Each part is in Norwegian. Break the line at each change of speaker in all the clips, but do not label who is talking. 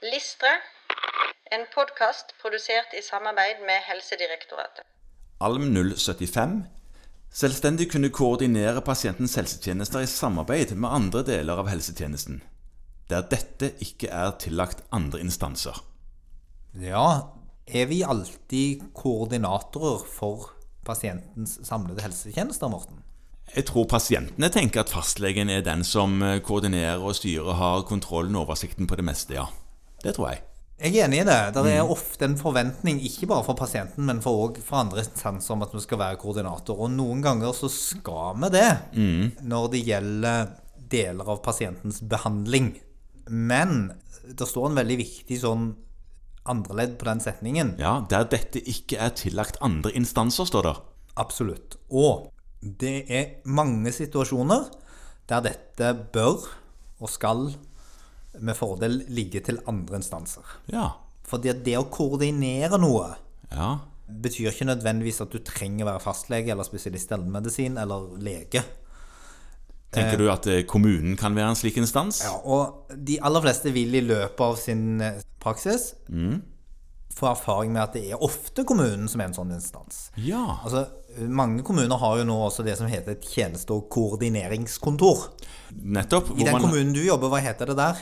Listre, en podkast produsert i samarbeid med Helsedirektoratet.
ALM 075. Selvstendig kunne koordinere pasientens helsetjenester i samarbeid med andre deler av helsetjenesten, der dette ikke er tillagt andre instanser.
Ja, er vi alltid koordinatorer for pasientens samlede helsetjenester, Morten?
Jeg tror pasientene tenker at fastlegen er den som eh, koordinerer og styrer, har kontrollen og oversikten på det meste, ja. Det tror jeg.
Jeg er enig i det. Det er ofte en forventning, ikke bare for pasienten, men for også for andre instanser, om at vi skal være koordinator. Og noen ganger så skal vi det når det gjelder deler av pasientens behandling. Men det står en veldig viktig sånn andreledd på den setningen.
Ja, Der dette ikke er tillagt andre instanser, står det.
Absolutt. Og det er mange situasjoner der dette bør og skal med fordel ligge til andre instanser.
Ja.
Fordi at det å koordinere noe
Ja.
betyr ikke nødvendigvis at du trenger å være fastlege eller spesialist i allmennmedisin eller lege.
Tenker du at eh, kommunen kan være en slik instans?
Ja, og de aller fleste vil i løpet av sin eh, praksis få erfaring med at det er ofte kommunen som er en sånn instans.
Ja.
Altså, mange kommuner har jo nå også det som heter et tjeneste- og koordineringskontor.
Nettopp.
I
hvor
den
man-
kommunen du jobber, hva heter det der?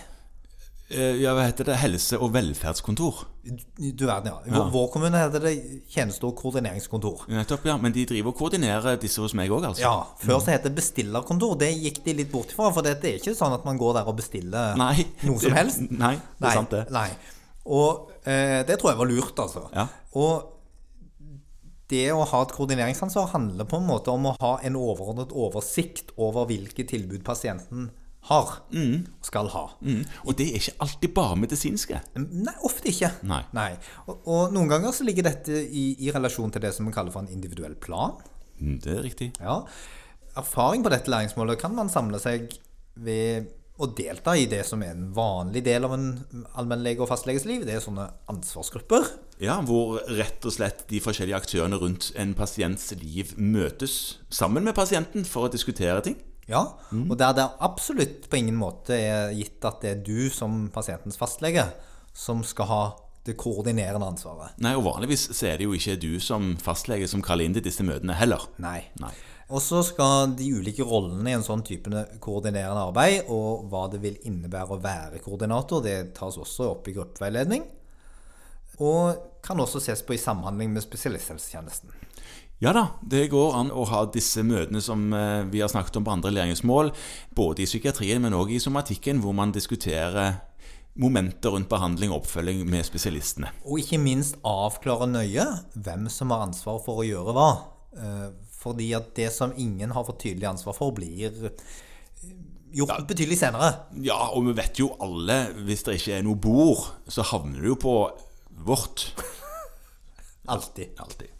Eh, Ja, hva heter det? Helse- og velferdskontor.
Du verden, ja. Vår, vår kommune heter det tjeneste- og koordineringskontor.
Nettopp, ja. Men de driver og koordinerer disse hos meg òg, altså.
Ja, Før så het det bestillerkontor. Det gikk de litt bort ifra. For det er ikke sånn at man går der og bestiller
Nei.
noe som helst.
Nei, det er
Nei,
sant det.
Nei. Og eh, det tror jeg var lurt, altså.
Ja.
Og det å ha et koordineringsansvar handler på en måte om å ha en overordnet oversikt over hvilke tilbud pasienten har,
Mm.
og skal ha.
Og det er ikke alltid bare medisinske.
Nei, ofte ikke.
Nei.
Og, og noen ganger så ligger dette i, i relasjon til det som vi kaller for en individuell plan.
Mm, Det er riktig.
Ja. Erfaring på dette læringsmålet kan man samle seg ved å delta i det som er en vanlig del av en allmennlege og fastleges liv. Det er sånne ansvarsgrupper.
Ja, Hvor rett og slett de forskjellige aktørene rundt en pasients liv møtes sammen med pasienten for å diskutere ting.
Ja, Og der det absolutt på ingen måte er gitt at det er du som pasientens fastlege som skal ha det koordinerende ansvaret.
Nei, og Vanligvis så er det jo ikke du som fastlege som kaller inn til disse møtene heller.
Nei.
Nei.
Og så skal de ulike rollene i en sånn type koordinerende arbeid, og hva det vil innebære å være koordinator, det tas også opp i gruppeveiledning. Og kan også ses på i samhandling med spesialisthelsetjenesten.
Ja da, det går an å ha disse møtene som eh, vi har snakket om på andre læringsmål, både i psykiatrien, men òg i somatikken, hvor man diskuterer momenter rundt behandling og oppfølging med spesialistene.
Og ikke minst avklare nøye hvem som har ansvar for å gjøre hva. Eh, Fordi at det som ingen har fått tydelig ansvar for, blir eh, gjort betydelig senere.
Ja, og vi vet jo alle, hvis det ikke er noe bord, så havner du jo på vårt.
Alltid.
Alltid.